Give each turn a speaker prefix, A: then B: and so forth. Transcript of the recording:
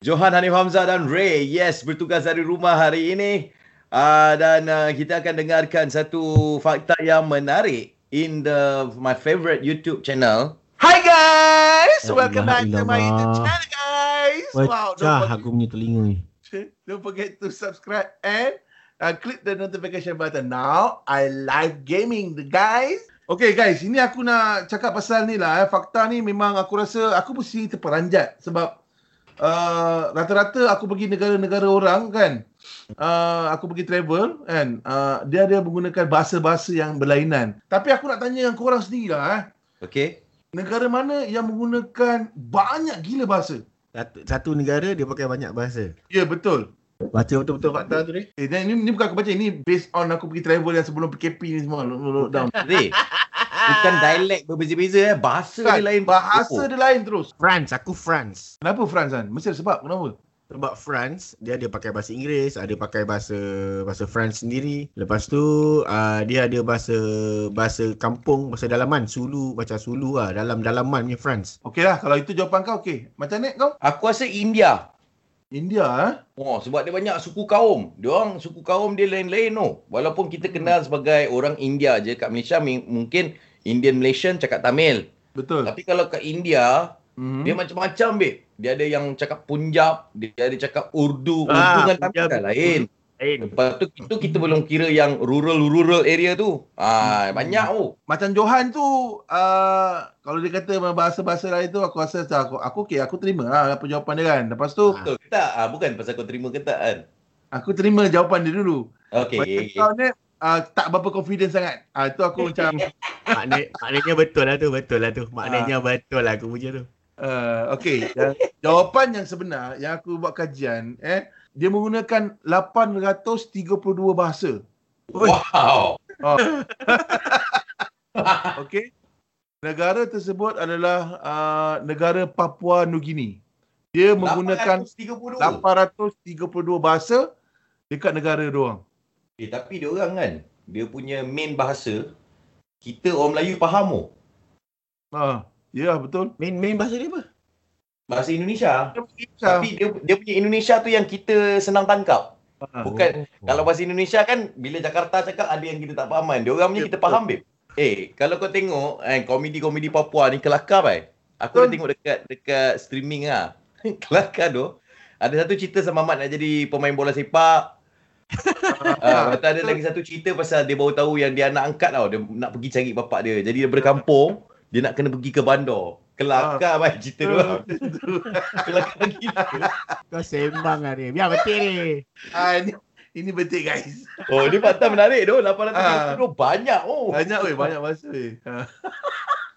A: Johan Hanif Hamzah dan Ray yes bertugas dari rumah hari ini uh, dan uh, kita akan dengarkan satu fakta yang menarik in the my favorite YouTube channel
B: Hi guys,
C: Ya
B: welcome back
C: Allah,
B: to my
C: ilallah.
B: YouTube channel guys. Wow,
C: Pecah
B: don't
C: aku punya telinga ni.
B: forget, don't forget to subscribe and uh, click the notification button. Now I live gaming the guys. Okay guys, ini aku nak cakap pasal ni lah. Eh. Fakta ni memang aku rasa aku mesti terperanjat sebab uh, rata-rata aku pergi negara-negara orang kan. Uh, aku pergi travel kan. Uh, dia ada menggunakan bahasa-bahasa yang berlainan. Tapi aku nak tanya dengan korang sendiri lah. Eh.
A: okay
B: Negara mana yang menggunakan banyak gila bahasa?
C: Satu, satu negara dia pakai banyak bahasa.
B: Ya, betul.
C: Baca betul-betul fakta tu ni.
B: Eh, dan ini, ini bukan aku baca. Ini based on aku pergi travel yang sebelum PKP ni semua. lo- lo- Lockdown.
A: Ray bukan dialek berbeza-beza eh bahasa
B: Kan,
A: dia lain Oh,
B: bahasa dia lain terus.
C: France, aku France.
B: Kenapa France kan? Mesti ada sebab. Kenapa?
C: Sebab France, dia ada pakai bahasa Inggeris, ada pakai bahasa bahasa France sendiri. Lepas tu, uh, dia ada bahasa bahasa kampung, bahasa dalaman, Sulu, macam Sulu lah, dalam dalaman punya France.
B: Okey lah. Kalau itu jawapan kau, okey. Macam ni kau?
A: aku rasa India
B: India, eh?
A: Oh, sebab dia banyak suku kaum. Dia orang suku kaum dia lain-lain no. Walaupun
B: Hmm.
A: kita kenal sebagai orang India je kat Malaysia mi- mungkin Indian Malaysian cakap Tamil.
B: Betul.
A: Tapi kalau kat India
B: Mm-hmm.
A: dia macam-macam babe. Dia ada yang cakap Punjab, dia ada cakap Urdu, Urdu
C: Ah,
A: dengan Tamil
C: Punjab.
A: dah lain.
C: Eh,
A: Lepas tu itu kita belum kira yang rural-rural area tu. Ah,
B: Hmm.
A: banyak oh.
B: Macam Johan tu, uh, kalau dia kata bahasa-bahasa lain tu, aku rasa macam aku, aku okey. Aku terima lah apa jawapan dia kan. Lepas tu,
C: Ah.
A: Betul ke tak? Ah, bukan pasal kau terima ke tak kan?
B: aku terima jawapan dia dulu. Macam
A: Okey.
B: kau ni, uh, tak berapa confident sangat. Ah, itu aku macam
C: Makna, maknanya betul lah tu, betul lah tu. Maknanya betul lah aku punya tu.
B: Uh, okay, yang, jawapan yang sebenar yang aku buat kajian, eh, dia menggunakan 832 bahasa.
A: Wow.
B: Okay, negara tersebut adalah uh, negara Papua New Guinea. Dia menggunakan
A: 832.
B: 832 bahasa dekat negara doang.
A: Eh, tapi dia orang kan, dia punya main bahasa, kita orang Melayu faham oh.
B: Ha, ya yeah, betul.
C: Main main bahasa dia apa?
A: Bahasa Indonesia.
B: Tapi,
A: Tapi dia, dia punya Indonesia tu yang kita senang tangkap. Bukan,
C: Oh.
A: kalau bahasa Indonesia kan, bila Jakarta cakap ada yang kita tak faham kan. Dia orang punya
B: Ya,
A: kita
B: betul.
A: faham, babe. Eh, kalau kau tengok eh, komedi-komedi Papua ni kelakar, bai. Aku
B: Betul.
A: dah tengok dekat dekat streaming lah. kelakar tu. Ada satu cerita sama Ahmad nak jadi pemain bola sepak. Ah, lepas tu ada lagi satu cerita pasal dia baru tahu yang dia anak angkat tau. Dia nak pergi cari bapak dia. Jadi daripada kampung, dia nak kena pergi ke bandar. Kelakar
B: Ah.
A: uh, cerita dia orang. Kelakar gila.
C: Kau sembang lah dia. Biar betul ni.
B: ah, ini, ini betul guys. Ah.
A: Oh, ni fakta menarik tu. 800 uh. banyak oh.
B: Banyak weh, banyak bahasa weh. Ha.